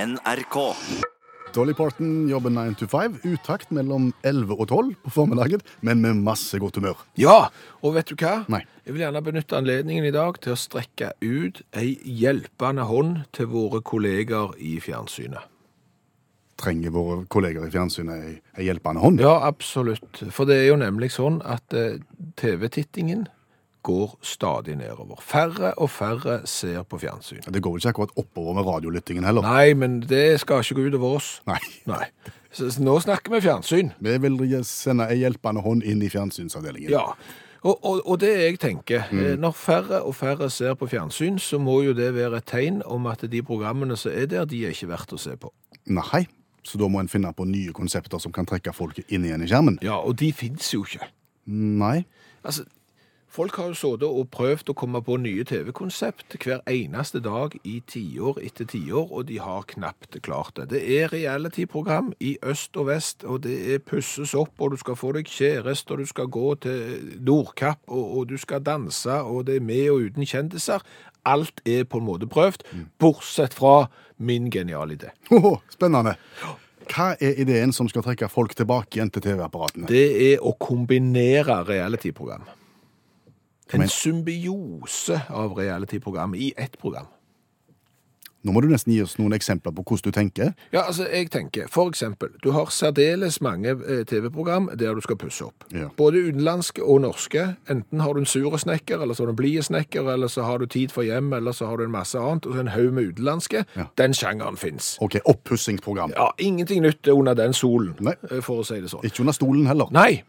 NRK. Dolly Parton jobber 9 to 5, utakt mellom 11 og 12 på formiddagen, men med masse godt humør. Ja, og vet du hva? Nei. Jeg vil gjerne benytte anledningen i dag til å strekke ut ei hjelpende hånd til våre kolleger i fjernsynet. Trenger våre kolleger i fjernsynet ei- ei hjelpende hånd? Ja, absolutt. For det er jo nemlig sånn at eh, TV-tittingen går stadig nedover. Færre og færre ser på fjernsyn. Det går vel ikke akkurat oppover med radiolyttingen heller? Nei, men det skal ikke gå utover oss. Nei. Nei. Så, så nå snakker vi fjernsyn. Vi vil sende ei hjelpende hånd inn i fjernsynsavdelingen. Ja. Og, og, og det jeg tenker, eh, når færre og færre ser på fjernsyn, så må jo det være et tegn om at de programmene som er der, de er ikke verdt å se på. Nei. Så da må en finne på nye konsepter som kan trekke folk inn igjen i skjermen? Ja, og de fins jo ikke. Nei. Altså, folk har jo sittet og prøvd å komme på nye TV-konsept hver eneste dag i tiår etter tiår, og de har knapt klart det. Det er reality-program i øst og vest, og det er pusses opp, og du skal få deg kjæreste, og du skal gå til Nordkapp, og, og du skal danse, og det er med og uten kjendiser. Alt er på en måte prøvd, bortsett fra min geniale idé. Hoho, spennende. Hva er ideen som skal trekke folk tilbake igjen til TV-apparatene? Det er å kombinere reality-program. En Men- symbiose av reality-program i ett program. Nå må du nesten gi oss noen eksempler på hvordan du tenker. Ja, altså, jeg tenker, for eksempel, du har særdeles mange eh, TV-program der du skal pusse opp. Ja. Både utenlandske og norske. Enten har du en sure snekker, eller så har du en blide snekker, eller så har du tid for hjem, eller så har du en masse annet, og så en haug med utenlandske. Ja. Den sjangeren fins. Ok, Oppussingsprogram. Ja, ingenting nytt er under den solen, Nei. eh, for å si det sånn. Ikke under stolen heller. Nei.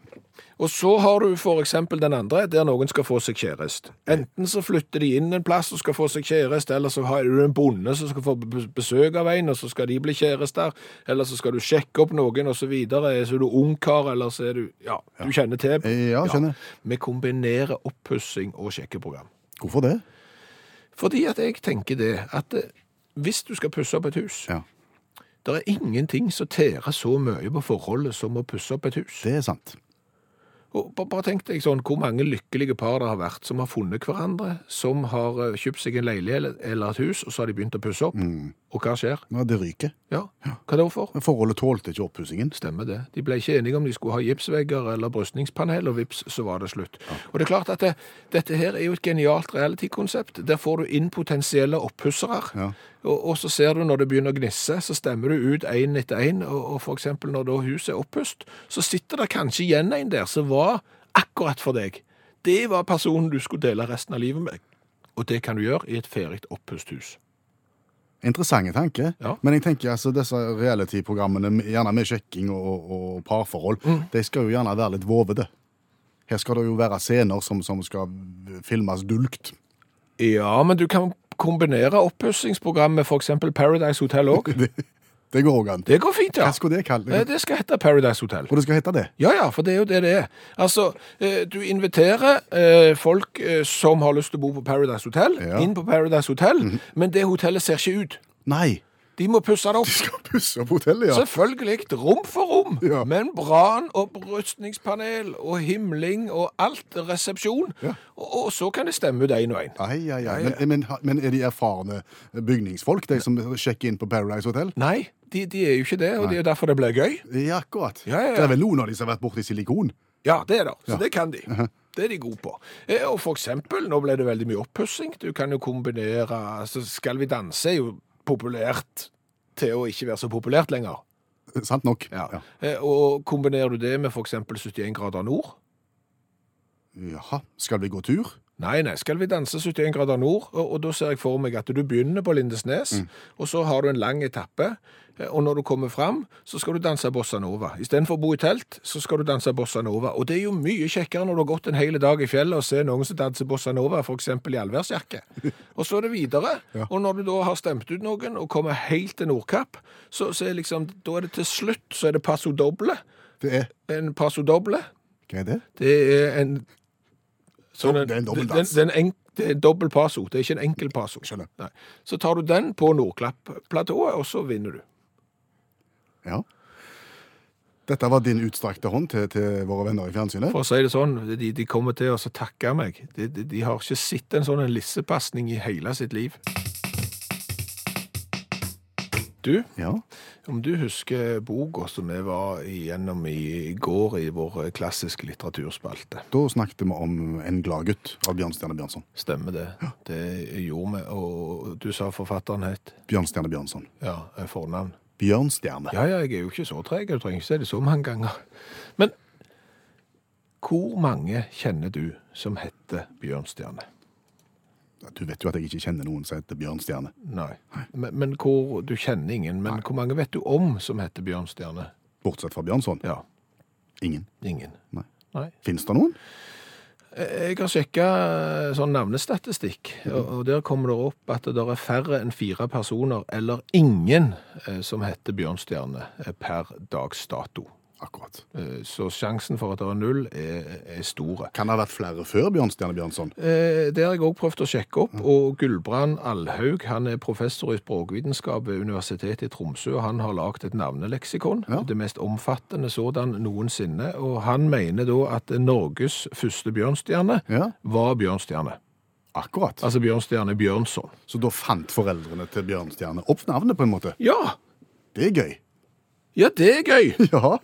Og så har du for eksempel den andre, der noen skal få seg kjærest. Enten så flytter de inn en plass og skal få seg kjærest, eller så har du en bonde som skal få be- besøk av en, og så skal de bli kjærester, eller så skal du sjekke opp noen, og så videre. Så er du ungkar, eller så er du Ja, du kjenner til. Eh, ja, kjenner. Vi kombinerer oppussing og sjekkeprogram. Hvorfor det? Fordi at jeg tenker det, at eh, hvis du skal pusse opp et hus Ja. Det er ingenting som tærer så mye på forholdet som å pusse opp et hus. Det er sant. Og ba- bare tenk deg sånn, hvor mange lykkelige par det har vært som har funnet hverandre, som har eh, kjøpt seg en leilighet eller- eller et hus, og så har de begynt å pusse opp. Og hva skjer? Ja, det ryker. Ja, hva da for? Men Forholdet tålte ikke oppussingen. Stemmer det. De ble ikke enige om de skulle ha gipsvegger eller brystningspanel, og vips, så var det slutt. Og det er klart at det, dette her er jo et genialt reality-konsept. Der får du inn potensielle oppussere, Ja. og, og så ser du når det begynner å gnisse, så stemmer du ut én etter én, og, og for eksempel når da huset er oppust, så sitter det kanskje igjen en der som var akkurat for deg. Det var personen du skulle dele resten av livet med. Og det kan du gjøre i et ferdig oppusthus. Interessante tanke. Ja. Men jeg tenker altså disse reality-programmene, med- gjerne med sjekking og, og parforhold, de skal jo gjerne være litt vovede. Her skal det jo være scener som, som skal filmes dulgt. Ja, men du kan kombinere oppussingsprogram med f.eks. Paradise Hotel òg. Det går òg an. Det går fint, ja. Hva skulle det Nei, kalle det skal hete Paradise Hotel. Og det skal hete det? Ja, ja, for det er jo det det er. Altså, eh, du inviterer eh, folk eh, som har lyst til å bo på Paradise Hotel, Ja. Mhm. inn på Paradise Hotel, men det hotellet ser ikke ut. Nei. De må pusse det opp. De skal pusse opp hotellet, ja. Selvfølgelig, rom for rom, Ja. men brann og brystningspanel og himling og alt resepsjon. Ja. Og, og så kan det stemme ut én og én. Ai, ai, ai. Men, men, men er de erfarne bygningsfolk, de som sjekker inn på Paradise Hotel? Nei, de, de er jo ikke det, og det er jo derfor det blir gøy. Ja, akkurat. Ja, ja, ja. Det er vel noen av de som har vært borti silikon? Ja, Uh-huh. det er det. Så det kan de. Det er de gode på. Eh, Og for eksempel, nå ble det veldig mye oppussing. Du kan jo kombinere altså Skal vi danse er jo populært til å ikke være så populært lenger. Sant nok. Ja. Ja. Eh, Og kombinerer du det med for eksempel 71 grader nord? Jaha, skal vi gå tur? Nei, nei, skal vi danse 71 grader nord? Og, og da ser jeg for meg at du begynner på Lindesnes, og så har du en lang etappe. eh, Og når du kommer fram, så skal du danse bossa nova. Istedenfor å bo i telt, så skal du danse bossa nova. Og det er jo mye kjekkere når du har gått en hel dag i fjellet og ser noen som danser bossa nova, f.eks. i allværsjakke. Og så er det videre. Og når du da har stemt ut noen og kommer helt til Nordkapp, så, så er liksom Da er det til slutt, så er det passo doble. Det er En passo doble. Hva er det? Det er en Så det er en dobbeldans. Den, den, en- det er en dobbel paso, det er ikke en enkel paso. Skjønner. Nei. Så tar du den på Nordklapp-platået, og så vinner du. Ja. Dette var din utstrakte hånd til, til våre venner i fjernsynet. For å si det sånn, de, de kommer til å så takke meg. De, de, de har ikke sett en sånn lissepasning i hele sitt liv. Du, Ja. om du husker boka som vi var igjennom i går i vår klassiske litteraturspalte. Da snakket vi om En glad gutt av Bjørnstjerne Bjørnson. Stemmer det. Det gjorde vi. Og du sa forfatteren het? Bjørnstjerne Bjørnson. Ja, fornavn. Bjørnstjerne. Ja, ja, jeg er jo ikke så treg. Du trenger ikke si det så mange ganger. Men hvor mange kjenner du som heter Bjørnstjerne? Du vet jo at jeg ikke kjenner noen som heter Bjørnstjerne. Nei. Men, men hvor, Du kjenner ingen, men hvor mange vet du om som heter Bjørnstjerne? Bortsett fra Bjørnson. Ja, Ingen. ingen. Nei. Nei. Fins det noen? Jeg har sjekka sånn navnestatistikk, og og der kommer det opp at det er færre enn fire personer, eller ingen, eh, som heter Bjørnstjerne eh, per dags dato. Akkurat. Eh, Så sjansen for at det er null, er, er store. Kan det ha vært flere før Bjørnstjerne Bjørnson? Eh, Det har jeg òg prøvd å Mm. sjekke opp. Og Gulbrand Alhaug han er professor i språkvitenskap ved Universitetet i Tromsø. og Han har lagd et navneleksikon, Ja. det mest omfattende sådan noensinne. Og han mener da at Norges første bjørnstjerne Ja, var bjørnstjerne. akkurat. Altså bjørnstjerne Bjørnson. Så da fant foreldrene til Bjørnstjerne opp navnet, på en måte. Ja! Det er gøy. Ja, det er gøy! Ja.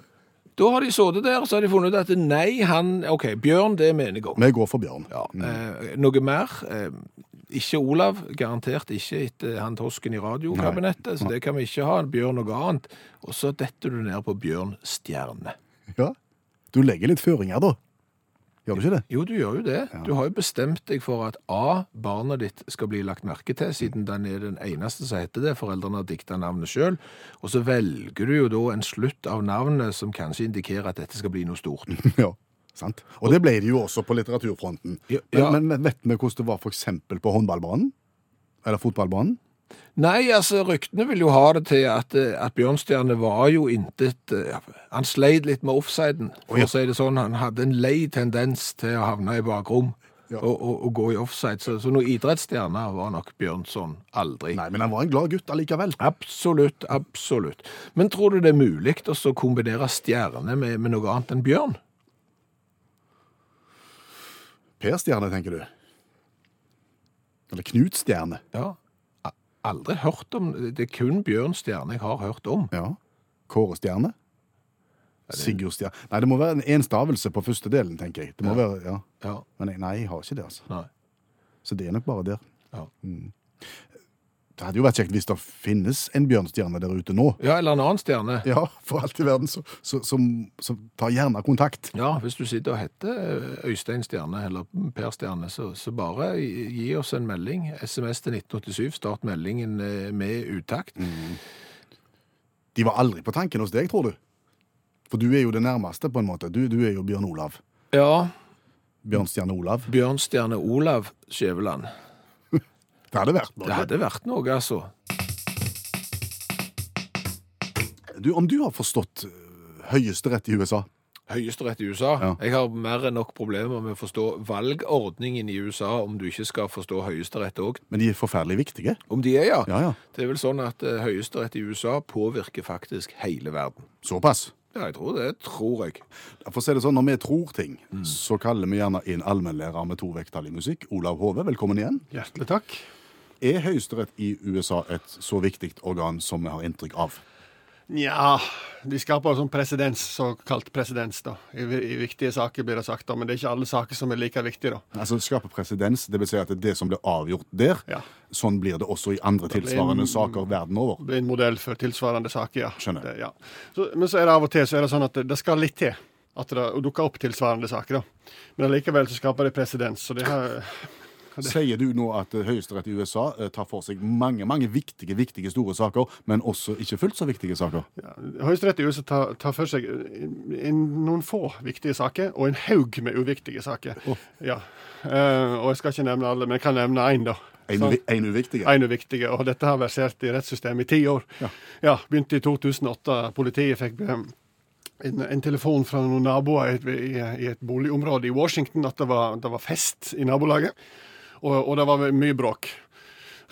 Da har de sittet der, så har de funnet ut at nei, han OK, Bjørn, det mener jeg om. Vi går for Bjørn. Ja, eh, noe mer? Eh, ikke Olav, garantert ikke etter han tosken i radiokabinettet, så det kan vi ikke ha. Bjørn noe annet. Og så detter du ned på Bjørn Stjerne. Ja. Du legger litt føringer, da. Gjør du ikke det? Jo, du gjør jo det. Du har jo bestemt deg for at A, barnet ditt skal bli lagt merke til, siden den er den eneste som heter det, foreldrene har dikta navnet sjøl, og så velger du jo da en slutt av navnet som kanskje indikerer at dette skal bli noe stort. Ja. Sant? Og det ble det jo også på litteraturfronten. Ja, ja. Men, men vet vi hvordan det var f.eks. på håndballbanen? Eller fotballbanen? Nei, altså ryktene vil jo ha det til at, eh, at Bjørnstjerne var jo intet eh, Han sleit litt med offsiden, for ja. å si det sånn. Han hadde en lei tendens til å havne i bakrom Ja. og, og, og gå i offside. Så, så noen idrettsstjerne var nok Bjørnson aldri. Nei, men han var en glad gutt allikevel. Absolutt, absolutt. Men tror du det er mulig å så kombinere stjerne med, med noe annet enn bjørn? Per Stjerne, tenker du? Eller Knut Stjerne? Ja. A- Aldri hørt om Det er kun Bjørnstjerne jeg har hørt om. Ja. Kåre Stjerne? Sigurd Stjerne Nei, det må være en- en stavelse på første delen, tenker jeg. Det må være, ja. Ja, Men jeg- nei, jeg har ikke det, altså. nei. Så det er nok bare der. Ja. Det hadde jo vært kjekt hvis det finnes en bjørnstjerne der ute nå. ja, eller en annen stjerne. Ja, for alt i verden, så, så, som, som tar gjerne kontakt. Ja, hvis du sitter og heter eh, Øystein Stjerne eller Per Stjerne, så, så bare gi gi oss en melding. SMS til 1987, start meldingen eh, med uttakt. De var aldri på tanken hos deg, tror du? For du er jo det nærmeste, på en måte. Du, du er jo Bjørn Olav. Ja, Bjørnstjerne Olav. Bjørn Stjerne Olav Skjæveland. Det hadde vært Det noe. hadde vært noe, altså. Du, om du har forstått øh, høyesterett i USA Høyesterett i USA. Ja. Jeg har mer enn nok problemer med å forstå valgordningen i USA, om du ikke skal forstå Høyesterett òg. Men de er forferdelig viktige. Om de er, ja. Ja, ja. Det er vel sånn at eh, Høyesterett i USA påvirker faktisk hele verden. Såpass. Ja, jeg tror det. Tror jeg. For å si det sånn, Når vi tror ting, så kaller vi gjerne inn allmennlærer med to vekttall i musikk. Olav Hove, velkommen igjen. Hjertelig takk. Er Høyesterett i USA et så viktig organ som vi har inntrykk av? Nja, de skaper sånn presedens, såkalt presedens, da. I, I viktige saker blir det sagt, da. Men det er ikke alle saker som er like viktige, da. Altså Skape presedens, dvs. Si at det er det som blir avgjort der. Ja. Sånn blir det også i andre blir tilsvarende en- saker verden over. Det blir en modell for tilsvarende saker, ja. Skjønner. Det, ja. Så, men så er det av og til så er det sånn at det, det skal litt til at det dukker opp tilsvarende saker, da. Men allikevel så skaper det presedens. Så det har Sier du nå at eh, Høyesterett i USA eh, tar for seg mange mange viktige, viktige store saker, men også ikke fullt så viktige saker? ja, Høyesterett i USA tar, tar for seg eh, en- noen få viktige saker, og en haug med uviktige saker. Ja. Eh, og jeg skal ikke nevne alle, men jeg kan nevne én, da. En, Sånn. uvi- en uviktig? En uviktige, og dette har versert i rettssystemet i ti år. Ja. Begynte i 2008. Politiet fikk eh, en, en telefon fra noen naboer i et, i, i et boligområde i Washington at det var, det var fest i nabolaget, og, og det var mye bråk.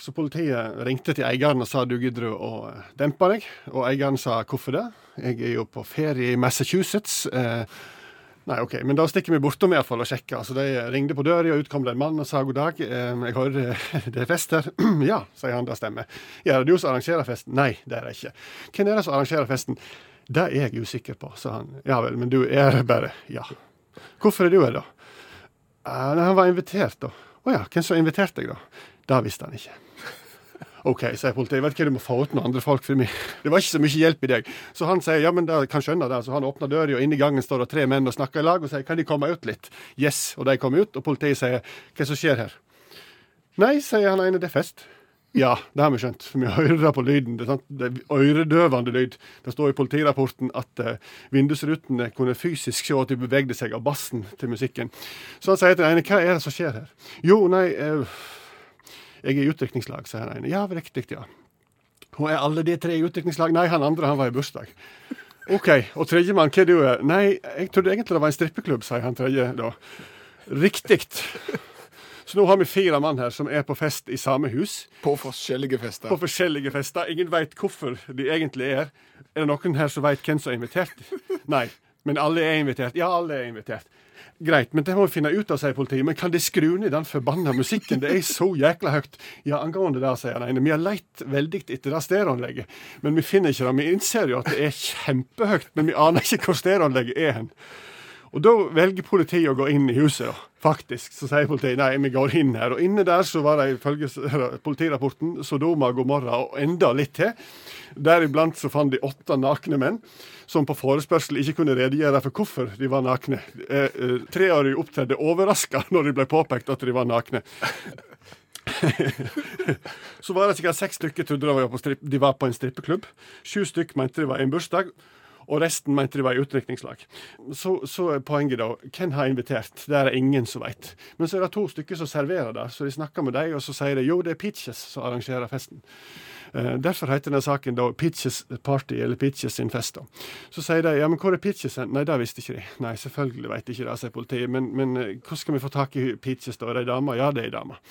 Så politiet ringte til eieren og sa du gidder du å eh, dempe deg? Og eieren sa hvorfor det? Jeg er jo på ferie i Massachusetts. Eh, Nei, ok, men da stikker vi bortom i hvert fall og sjekker. Så de ringde på døra, og ut kom det en mann og sa god dag. eh, Jeg hører det er fest her. ja, sier han, det stemmer. Ja, er det du som arrangerer festen? Nei, det er det ikke. Hvem er det som arrangerer festen? Det er jeg usikker på, sa han. Ja vel, men du er det bare. Ja. Hvorfor er du her, da? «Eh, Nei, han var invitert, da. Å ja, hvem som inviterte deg, da? Det visste han ikke. OK, sier politiet, jeg vet ikke hva du må få ut med andre folk, for meg. det var ikke så mye hjelp i deg. Så han sier ja, men det kan skjønne det. Så han åpner døra, og inne i gangen står det tre menn og snakker i lag og sier kan de komme ut litt? Yes, og de kommer ut, og politiet sier hva som skjer her? Nei, sier han ene, det er fest. Ja, det har vi skjønt, for vi hører det på lyden. Det er, sant? Det er øredøvende lyd. Det står i politirapporten at eh, vindusrutene kunne fysisk se at de bevegde seg av bassen til musikken. Så han sier til den ene, hva er det som skjer her? Jo, nei, eh, jeg er i utdrikningslag, sier han ene. Ja, riktig, ja. Og er alle de tre i utdrikningslag? Nei, han andre han var i bursdag. OK. Og tredjemann, hva er du? er? Nei, jeg trodde egentlig det var en strippeklubb, sier han tredje da. Riktig. Så nå har vi fire mann her som er på fest i samme hus. På forskjellige fester. På forskjellige fester. Ingen veit hvorfor de egentlig er her. Er det noen her som veit hvem som er invitert? Nei. Men alle er invitert. Ja, alle er invitert. Greit, men det må vi finne ut av, sier politiet. Men kan de skru ned den forbanna musikken? Det er så jækla høyt. Ja, angående det, sier han ene. Vi har leitt veldig etter det stereoanlegget, men vi finner ikke det. Vi innser jo at det er kjempehøyt, men vi aner ikke hvor stereoanlegget er hen. Og da velger politiet å gå inn i huset, da. Faktisk. Så sier politiet nei, vi går inn her. Og inne der så var det ifølge s- politirapporten Sodoma, Gomorra og enda litt til. Deriblant så fant de åtte nakne menn som på forespørsel ikke kunne redegjøre for hvorfor de var nakne. Eh, eh, tre av de opptredde overraska når de ble påpekt at de var nakne. Så var det sikkert seks stykker trodde de var på, stripp, de var på en strippeklubb. Sju stykk mente de var i en bursdag, og resten mente de var i utdrikningslag. Så, så er poenget da, hvem har invitert? Det er det ingen som veit. Men så er det to stykker som serverer det, så de snakker med dem, og så sier de jo, det er Peaches som arrangerer festen. Eh, Derfor heter denne saken da Pitches Party, eller Pitches sin fest. da. Så sier de ja, men hvor er Pitches hen? Nei, det visste ikke de. Nei, selvfølgelig vet de ikke det, sier politiet. Men, men eh, hvor skal vi få tak i Pitches, da? Er det ei dame? Ja, det er ei dame.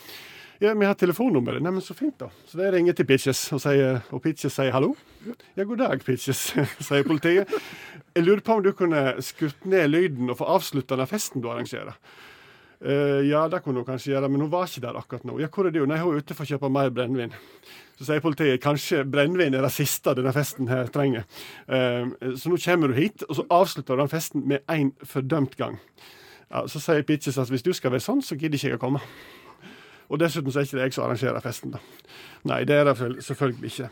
Ja, vi har telefonnummeret. Nei, men så fint, da. Så de ringer til Pitches, og, sier, og Pitches sier hallo. Ja, god dag, Pitches, sier politiet. Jeg lurer på om du kunne skutt ned lyden og få avslutta den festen du arrangerer. «Eh, ja, det kunne hun kanskje gjøre, men hun var ikke der akkurat nå. Ja, hvor er du? Nei, hun er ute for å kjøpe mer brennevin. Så sier politiet kanskje brennevin er det siste denne festen her trenger. Eh, så nå kommer du hit, og så avslutter du den festen med én fordømt gang. Ja, så sier Pitches at hvis du skal være sånn, så gidder ikke jeg å komme. Og dessuten så er ikke det jeg som arrangerer festen, da. Nei, det er det vel- selvfølgelig ikke.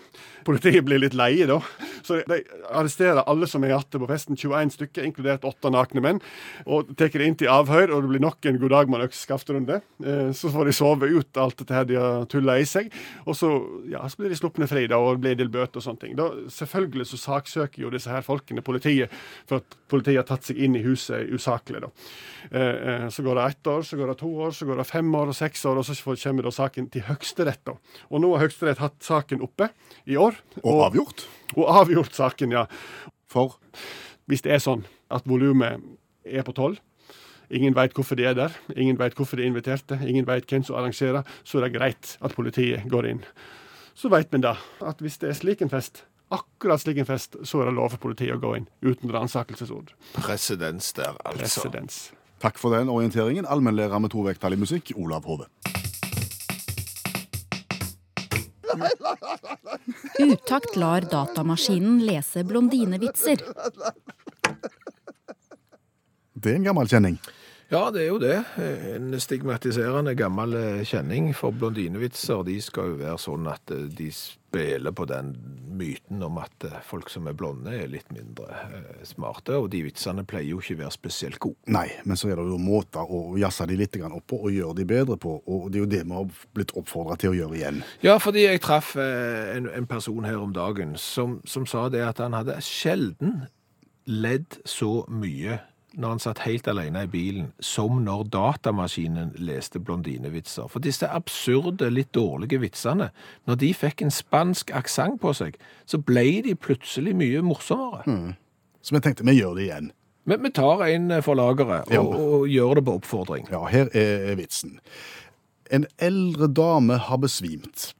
Politiet blir litt leie, da. Så de arresterer alle som er igjen på festen, 21 stykker, inkludert åtte nakne menn, og tar det inn til avhør, og det blir nok en god dag med en økseskaft-runde. Eh, Så får de sove ut alt dette her de har tulla i seg, og så, ja, så blir de sluppne fri, da, og det blir en del bøter og sånne ting. Da, selvfølgelig så saksøker jo disse her folkene politiet for at politiet har tatt seg inn i huset usaklig, da. Eh, eh, Så går det ett år, så går det to år, så går det fem år og seks år, og så får- kommer da saken til Høyesterett. da. Og nå har Høyesterett hatt saken oppe i år. Og avgjort. Og avgjort saken, ja. For Hvis det er sånn at volumet er på tolv, ingen veit hvorfor de er der, ingen veit hvorfor de inviterte, ingen veit hvem som arrangerer, så er det greit at politiet går inn. Så veit vi da at hvis det er slik en fest, akkurat slik en fest, så er det lov for politiet å gå inn uten ransakelsesord. Presedens der, altså. Presedens. takk for den orienteringen, allmennlærer med to vekttall i musikk, Olav Hove. Utakt lar datamaskinen lese blondinevitser. Det er en gammel kjenning. Ja, det er jo det. En stigmatiserende gammel eh, kjenning for blondinevitser. De skal jo være sånn at eh, de spiller på den myten om at eh, folk som er blonde, er litt mindre eh, smarte. Og de vitsene pleier jo ikke å være spesielt gode. Nei, men så er det jo måter å jazze de litt grann opp på og gjøre de bedre på, og det er jo det vi har blitt oppfordra til å gjøre igjen. Ja, fordi jeg traff eh, en, en person her om dagen som, som sa det at han hadde sjelden ledd så mye når han satt helt alene i bilen, som når datamaskinen leste blondinevitser. For disse absurde, litt dårlige vitsene, når de fikk en spansk aksent på seg, så ble de plutselig mye morsommere. Så vi tenkte vi gjør det igjen. Men vi tar en for lageret Ja. og, og gjør det på oppfordring. Ja, her er vitsen. En eldre dame har besvimt.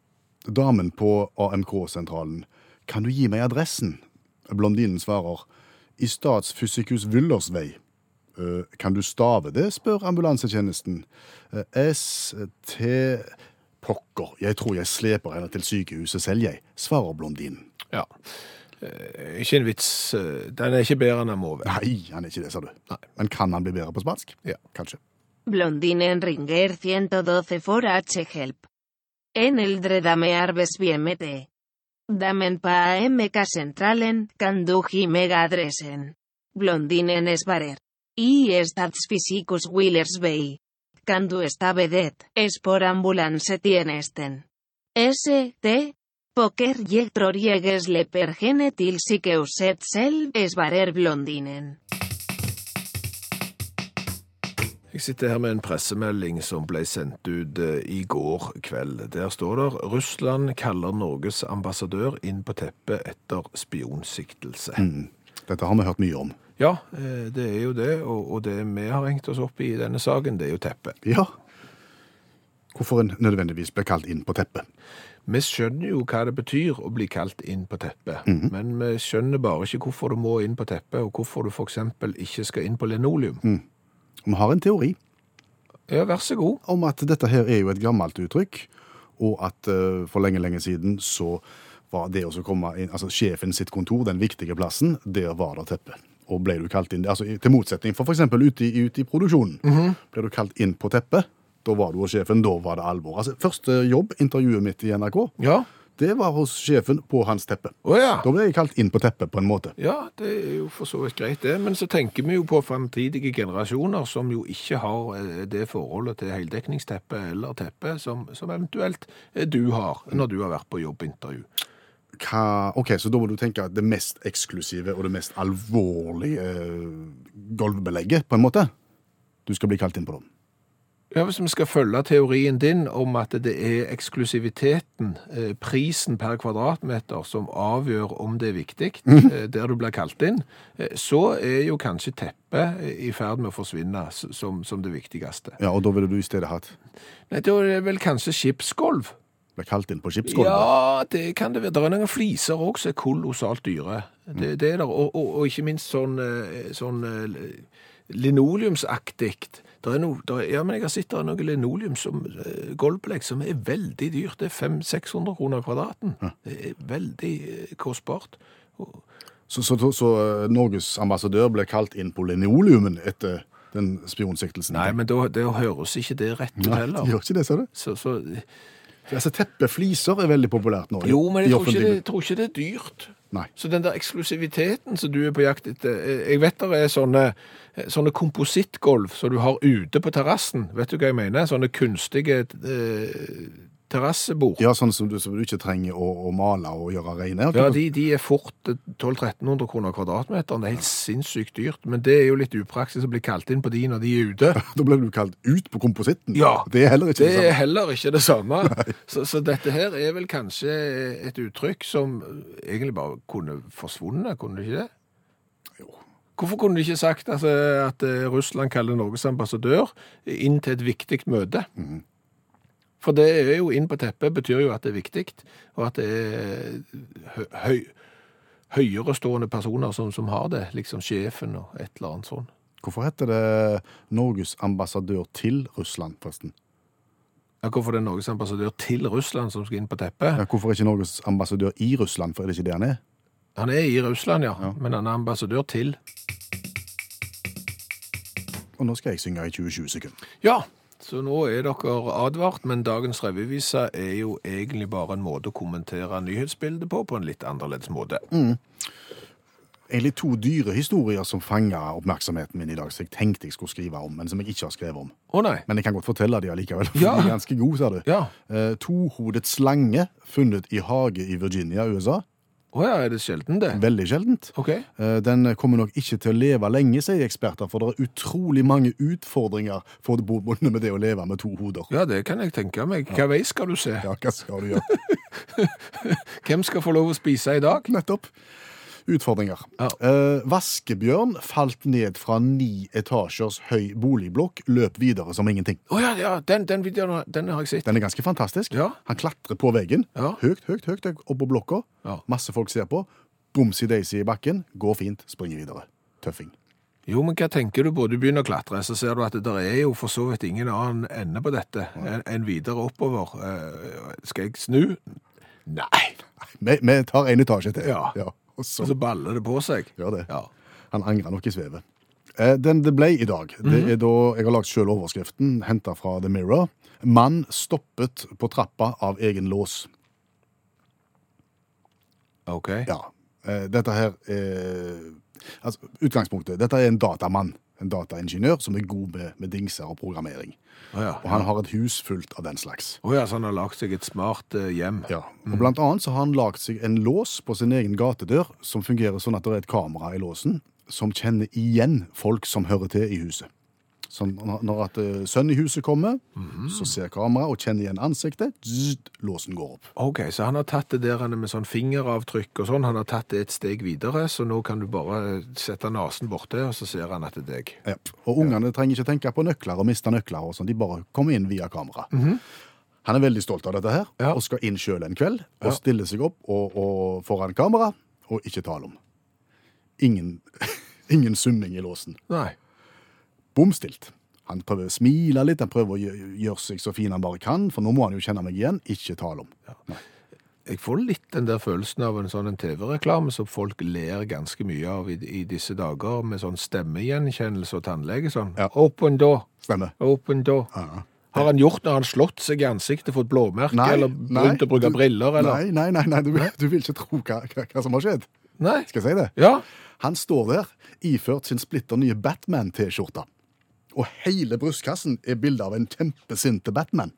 Damen på AMK-sentralen. Kan du gi meg adressen? Blondinen svarer. I Statsfysikhus Vyllers vei. Eh, Kan du stave det, spør ambulansetjenesten. Eh, ST Pokker, jeg tror jeg sleper henne til sykehuset selv, jeg, svarer blondinen. Ja. Eh, Ikke en vits. eh, Den er ikke bedre enn den må være. Nei, han er ikke det, sa du. Men kan han bli bedre på spansk? Ja. Kanskje. Blondine en Ringer 112 for H help. En eldre dame arbes BMT. Damen pa AMK centralen, kan du mega adressen. Blondine en esbarer. I stats physicus willers bay. Kan du esta vedet, es por ambulance tienesten. S, T, poker yector llegues leper genetil siqueuset sel esbarer blondinen. Jeg sitter her med en pressemelding som ble sendt ut eh, i går kveld. Der står det 'Russland kaller Norges ambassadør inn på teppet etter spionsiktelse'. Mm. Dette har vi hørt mye om. Ja, eh, det er jo det, og, og det vi har hengt oss opp i i denne saken, det er jo teppet. Ja. Hvorfor en nødvendigvis ble kalt inn på teppet. Vi skjønner jo hva det betyr å bli kalt inn på teppet, men vi skjønner bare ikke hvorfor du må inn på teppet, og hvorfor du for eksempel ikke skal inn på linoleum. Vi har en teori Ja, vær så god. om at dette her er jo et gammelt uttrykk, og at eh, for lenge, lenge siden så var det å så komme inn, altså sjefen sitt kontor, den viktige plassen, der var det teppe. Og ble du kalt inn, altså i- til motsetning for for eksempel ute i, ute i produksjonen, Mhm. ble du kalt inn på teppet, da var du hos sjefen, da var det alvor. Altså første jobb, intervjuet mitt i NRK, Ja. det var hos sjefen på hans teppe. Å ja. Da ble jeg kalt inn på teppet på en måte. Ja, det er jo for så vidt greit det, men så tenker vi jo på fremtidige generasjoner som jo ikke har eh, det forholdet til heldekningsteppet eller teppet som, som eventuelt eh, du har når du har vært på jobbintervju. hva, ok, så da må du tenke at det mest eksklusive og det mest alvorlige eh, gulvbelegget, på en måte, du skal bli kalt inn på dem. Ja, Hvis vi skal følge teorien din om at det er eksklusiviteten, eh, prisen per kvadratmeter, som avgjør om det er viktig, eh, der du blir kalt inn, eh, så er jo kanskje teppet eh, i ferd med å forsvinne s- som, som det viktigste. Ja, og da ville du i stedet hatt Nei, Da er det vel kanskje skipsgulv? ble kalt inn på skipsgulvet. Ja, det kan det være. Det er noen fliser òg som er kolossalt dyre. Det, det er der. Og, og, og ikke minst sånn, eh, sånn eh, linoleumsaktig. Der er no, der, er- ja, men jeg har sett der er noe linoleum som eh, gulvbelegg som er veldig dyrt. Det er 500-600 kroner kvadraten. Det er veldig eh, kostbart. Og, Så, så, så, så eh, Norges ambassadør ble kalt inn på linoleumen etter den spionsiktelsen? nei, men da, det høres ikke det rett ut Nei, de heller. gjør ikke det, sa du? Så, så, Altså, Teppefliser er veldig populært nå. i- jo, men i jeg tror ikke, offentlig- det, jeg tror ikke det er dyrt. Nei. Så den der eksklusiviteten som du er på jakt etter eh, Jeg vet det er sånne, eh, sånne komposittgolv som du har ute på terrassen. Vet du hva jeg mener? Sånne kunstige eh, terrassebord. Ja, sånn som du, som du ikke trenger å, å male og gjøre rene. Ja, de, de er fort eh, 1200-1300 kroner kvadratmeteren. Det er helt sinnssykt dyrt. Men det er jo litt upraksis å bli kalt inn på de når de er ute. Da ble du kalt ut på kompositten. Ja. Det er heller ikke Det det er samme. heller ikke det samme. Så, så dette her er vel kanskje et uttrykk som egentlig bare kunne forsvunnet, kunne det ikke det? Jo. Hvorfor kunne de ikke sagt at, at eh, Russland kaller Norges ambassadør inn til et viktig møte? For det er jo inn på teppet betyr jo at det er viktig, og at det er hø- høy, høyerestående personer som, som har det, liksom sjefen og et eller annet sånt. Hvorfor heter det Norges ambassadør til Russland, forresten? Ja, hvorfor det er Norges ambassadør til Russland som skal inn på teppet? Ja, hvorfor ikke Norges ambassadør i Russland, for er det ikke det han er? Han er i Russland, ja, men han er ambassadør til. Og nå skal jeg synge i 20-20 sekunder. Ja, så nå er dere advart, men dagens revyvise er jo egentlig bare en måte å kommentere nyhetsbildet på, på en litt annerledes måte. Egentlig to dyre historier som fanger oppmerksomheten min i dag, som jeg tenkte jeg skulle skrive om, men som jeg ikke har skrevet om. Å nei, Men jeg kan godt fortelle de allikevel, for Ja. de er ganske gode, sa du. ja. Eh, Tohodet slange funnet i hage i Virginia, USA. Å ja, er det sjelden det? Veldig sjeldent. Ok. Eh, Den kommer nok ikke til å leve lenge, sier eksperter, for det er utrolig mange utfordringer for det bonde med det å leve med to hoder. Ja, det kan jeg tenke meg. Hva vei skal du se? Ja, hva skal du gjøre? Hvem skal få lov å spise i dag? Nettopp. Utfordringer. Ja. Eh, vaskebjørn falt ned fra ni etasjers høy boligblokk, løp videre som ingenting. Å ja, ja, den, den videoen den har jeg sett. Den er ganske fantastisk. Ja. Han klatrer på veggen, Ja. høyt, høyt, høyt oppå blokka. Ja. Masse folk ser på. Bomsi-daisy i bakken. Går fint, springer videre. Tøffing. Jo, men hva tenker du på? Du begynner å klatre, så ser du at det der er jo for så vidt ingen annen ende på dette enn enn videre oppover. Eh, Skal jeg snu? Nei. Vi, vi tar en etasje til. Ja. og Så, så så baller det på seg. gjør det. Sånn. Ja. Han angrer nok i svevet. Eh, Den det ble i dag, det er da jeg har lagt selv overskriften, hentet fra The Mirror. Mann stoppet på trappa av egen lås. OK. Ja. Eh, Dette her er Altså, utgangspunktet. Dette er en datamann. En dataingeniør som er god med, med dingser og programmering. Å ja. Og han har et hus fullt av den slags. Å ja, så han har lagd seg et smart eh, hjem. Ja, og Blant annet så har han lagd seg en lås på sin egen gatedør som fungerer sånn at det er et kamera i låsen som kjenner igjen folk som hører til i huset. Så når når at eh, sønnen i huset kommer, så ser kameraet og kjenner igjen ansiktet. Zzzt, låsen går opp. OK, så han har tatt det der han er med sånn fingeravtrykk og sånn. Han har tatt det et steg videre, så nå kan du bare sette nesen borti, og så ser han at det er deg. Ja. Og ungene trenger ikke tenke på nøkler og miste nøkler. og sånn. De bare kommer inn via kamera. Han er veldig stolt av dette her, Ja. og skal inn sjøl en kveld. Og stiller seg opp og, og foran kamera, og ikke tale om. Ingen, ingen summing i låsen. Nei. bomstilt. Han prøver å smile litt, han prøver å gjø- gjøre seg så fin han bare kan, for nå må han jo kjenne meg igjen, ikke tale om. Jeg får litt den der følelsen av en sånn en TV-reklame som folk ler ganske mye av i, i disse dager, med sånn stemmegjenkjennelse og tannlege sånn. Ja. Open door, Stemmer. open door. Ja. Har han gjort når han slått seg i ansiktet, fått blåmerke, eller begynt å bruke du- briller, eller? Nei, nei, nei, nei du, vil- du vil ikke tro hva, hva, hva som har skjedd. Nei. Skal jeg si det? Ja, Han står der, iført sin splitter nye Batman-T-skjorta. Og hele brystkassen er bilde av en kjempesinte Batman.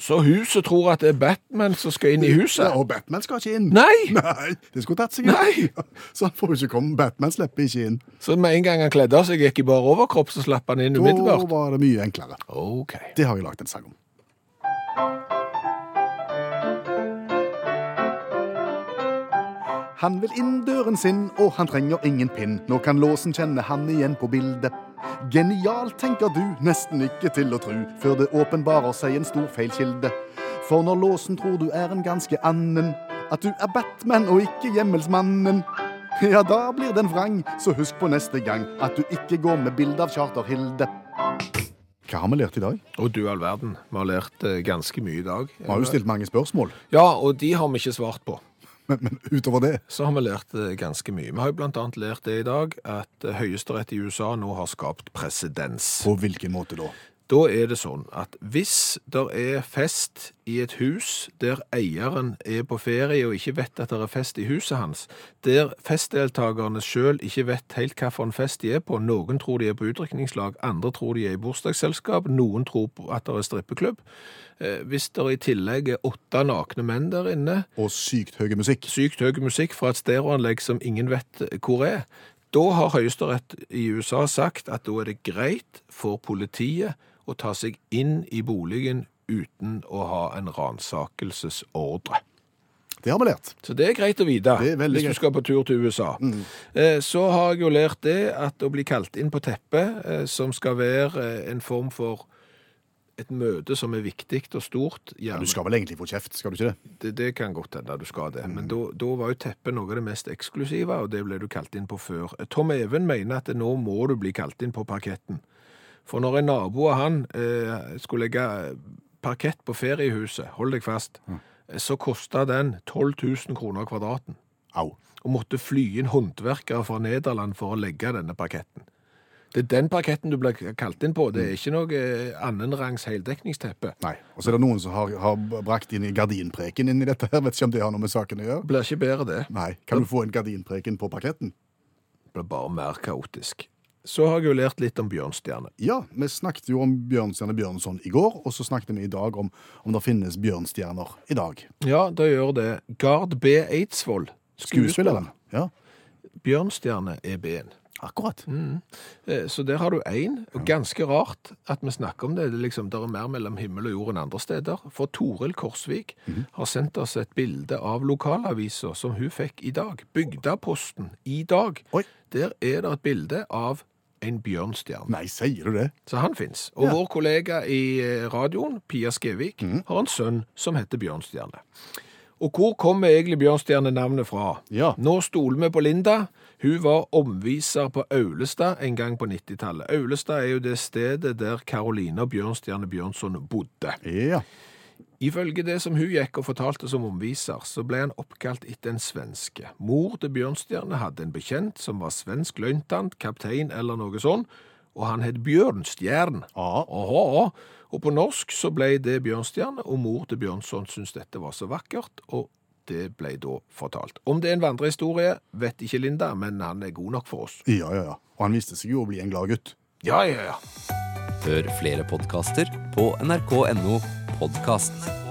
så huset tror at det er Batman som skal inn i Ja, huset? og Batman skal ikke inn. Nei! Nei, det skulle tatt seg Nei! ut. Så han får jo ikke komme. Batman slipper ikke inn. Så med en gang han kledde av seg, gikk i bare overkropp, så slapp han inn Da umiddelbart. var det mye enklere. Ok. Det har jeg lagt en sang om. Han vil inn døren sin, og han trenger ingen pinn. Nå kan låsen kjenne han igjen på bildet. Genialt, tenker du, nesten ikke til å tru, før det åpenbarer seg en stor feilkilde. For når låsen tror du er en ganske annen, at du er Batman og ikke Hjemmelsmannen. Ja, da blir den vrang, så husk på neste gang at du ikke går med bilde av Charter-Hilde. Hva har vi lært i dag? Og du all verden, vi har lært eh, ganske mye i dag. Vi har jo stilt mange spørsmål, Ja, og de har vi ikke svart på. men, men utover det så har vi lært eh, ganske mye. Vi har jo blant annet lært det i dag, at eh, høyesterett i USA nå har skapt presedens. På hvilken måte da? Da er det sånn at hvis det er fest i et hus der eieren er på ferie og ikke vet at det er fest i huset hans, der festdeltakerne selv ikke vet helt hvilken fest de er på, noen tror de er på utdrikningslag, andre tror de er i bursdagsselskap, noen tror på at det er strippeklubb, Eh, hvis det i tillegg er åtte nakne menn der inne, Og sykt høy musikk. sykt høy musikk fra et stereoanlegg som ingen vet hvor er. Da har Høyesterett i USA sagt at da er det greit for politiet å ta seg inn i boligen uten å ha en ransakelsesordre. Det har vi lært. Så det er greit å vite Det er veldig hvis du greit. Mm. skal på tur til USA. Eh, Så har jeg jo lært det at å bli kalt inn på teppet, eh, som skal være eh, en form for et møte som er viktig og stort Ja, gjerne du skal vel egentlig få kjeft, skal du ikke det? det, det kan godt hende du skal det. Men da, da var jo teppet noe av det mest eksklusive, og det ble du kalt inn på før. Tom Even mener at nå må du bli kalt inn på parketten. For når en nabo av han eh, skulle legge parkett på feriehuset, hold deg fast, eh, så kosta den 12 000 kroner kvadraten. Au. Og måtte fly inn håndverkere fra Nederland for å legge denne parketten. Det er den parketten du ble kalt inn på. Det er ikke noe eh, annenrangs heldekningsteppe. Nei. Og så er det noen som har, har brakt inn i gardinpreken inn i dette her. Vet ikke om det har noe med saken å gjøre. Blir ikke bedre, det. Nei. Kan du få en gardinpreken på parketten? ble bare mer kaotisk. Så har jeg jo lært litt om bjørnstjerne. Ja, vi snakket jo om Bjørnstjerne Bjørnson i går, og så snakket vi i dag om om det finnes bjørnstjerner i dag. Ja, da gjør det. Gard B. Eidsvoll, Skuespilleren. skuespilleren. Ja, Bjørnstjerne er B-en. akkurat. Eh, Så der har du én, og ganske rart at vi snakker om det. Det er, liksom, der er mer mellom himmel og jord enn andre steder. For Toril Korsvik har sendt oss et bilde av lokalavisa som hun fikk i dag. Bygdaposten i dag. Oi. Der er det et bilde av en bjørnstjerne. Nei, sier du det? Så han fins. Og vår kollega i eh, radioen, Pia Skevik, har en sønn som heter Bjørnstjerne. Og hvor kommer egentlig Bjørnstjerne navnet fra? Ja. Nå stoler vi på Linda. Hun var omviser på Aulestad en gang på 90-tallet. Aulestad er jo det stedet der Karolina Bjørnstjerne Bjørnson bodde. Ja. Ifølge det som hun gikk og fortalte som omviser, så ble han oppkalt etter en svenske. Mor til Bjørnstjerne hadde en bekjent som var svensk løytnant, kaptein eller noe sånn, og han het Bjørnstjern. Ja. Aha. Og på norsk så ble det Bjørnstjerne, og mor til Bjørnson syntes dette var så vakkert, og det ble da fortalt. Om det er en vandrehistorie, vet ikke Linda, men han er god nok for oss. ja, ja, ja. Og han viste seg jo å bli en glad gutt. Ja, ja, ja. Hør flere podkaster på nrk.no podkast.